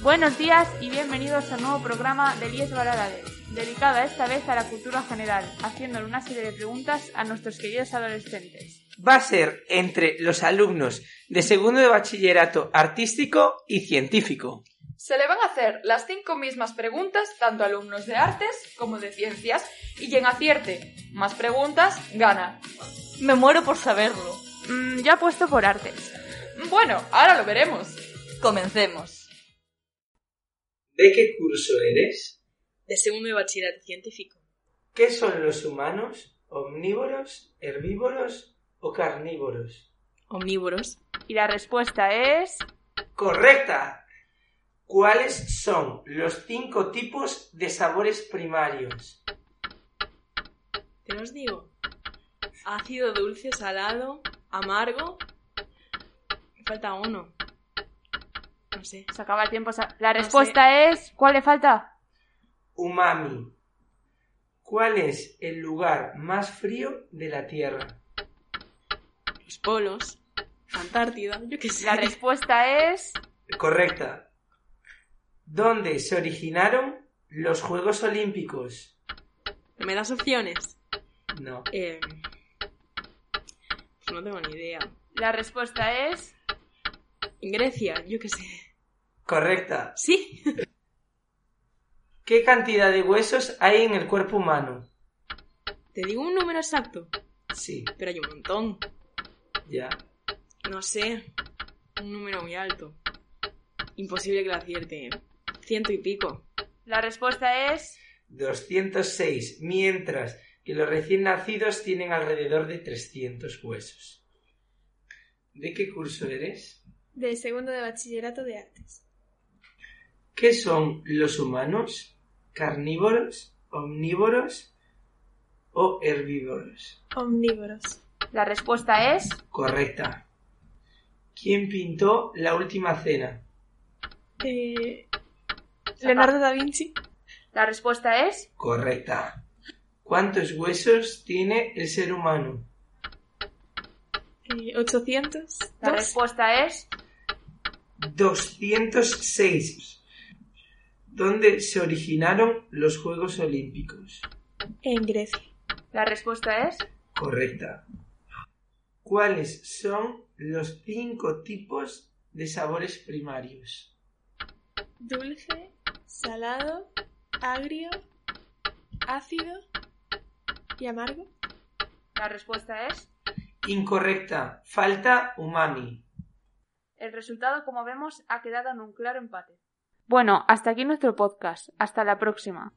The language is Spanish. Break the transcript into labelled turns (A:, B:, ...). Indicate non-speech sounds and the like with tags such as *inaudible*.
A: Buenos días y bienvenidos al nuevo programa de 10 Baladades, dedicada esta vez a la cultura general, haciéndole una serie de preguntas a nuestros queridos adolescentes.
B: Va a ser entre los alumnos de segundo de bachillerato artístico y científico.
C: Se le van a hacer las cinco mismas preguntas tanto a alumnos de artes como de ciencias y quien acierte más preguntas gana.
D: Me muero por saberlo.
A: Mm, yo apuesto por artes.
C: Bueno, ahora lo veremos.
D: Comencemos.
B: ¿De qué curso eres?
E: De segundo de bachillerato científico.
B: ¿Qué son los humanos? ¿Omnívoros, herbívoros o carnívoros?
E: Omnívoros.
A: Y la respuesta es...
B: ¡Correcta! ¿Cuáles son los cinco tipos de sabores primarios?
E: ¿Qué os digo? Ácido, dulce, salado, amargo. Me falta uno. No sé.
A: Se acaba el tiempo. se- La
E: No
A: respuesta es... ¿Cuál le falta?
B: Umami. ¿Cuál es el lugar más frío de la Tierra?
E: Los polos. Antártida. Yo qué
C: *laughs*
E: sé.
A: La respuesta es...
B: Correcta. ¿Dónde se originaron los Juegos Olímpicos?
E: ¿No me das opciones?
B: No.
E: Eh, pues no tengo ni idea.
A: La respuesta es...
E: En Grecia. Yo qué sé.
B: Correcta.
E: Sí.
B: ¿Qué cantidad de huesos hay en el cuerpo humano?
E: Te digo un número exacto.
B: Sí,
E: Pero hay un montón.
B: ya.
E: No sé. Un número muy alto. Imposible que lo acierte. Ciento y pico.
A: La respuesta es...
B: 206, mientras que los recién nacidos tienen alrededor de 300 huesos. ¿De qué curso eres?
F: de segundo de bachillerato de artes.
B: ¿Qué son los humanos? ¿Carnívoros, omnívoros o herbívoros?
F: Omnívoros.
A: La respuesta es...
B: Correcta. ¿Quién pintó la última cena?
F: Eh, Leonardo da Vinci.
A: La respuesta es...
B: Correcta. ¿Cuántos huesos tiene el ser humano?
F: Eh, 800.
A: La
F: dos.
A: respuesta es...
B: 206. ¿Dónde se originaron los Juegos Olímpicos?
F: En Grecia.
A: La respuesta es...
B: Correcta. ¿Cuáles son los cinco tipos de sabores primarios?
F: Dulce, salado, agrio, ácido y amargo.
A: La respuesta es...
B: Incorrecta. Falta umami.
A: El resultado, como vemos, ha quedado en un claro empate. Bueno, hasta aquí nuestro podcast. Hasta la próxima.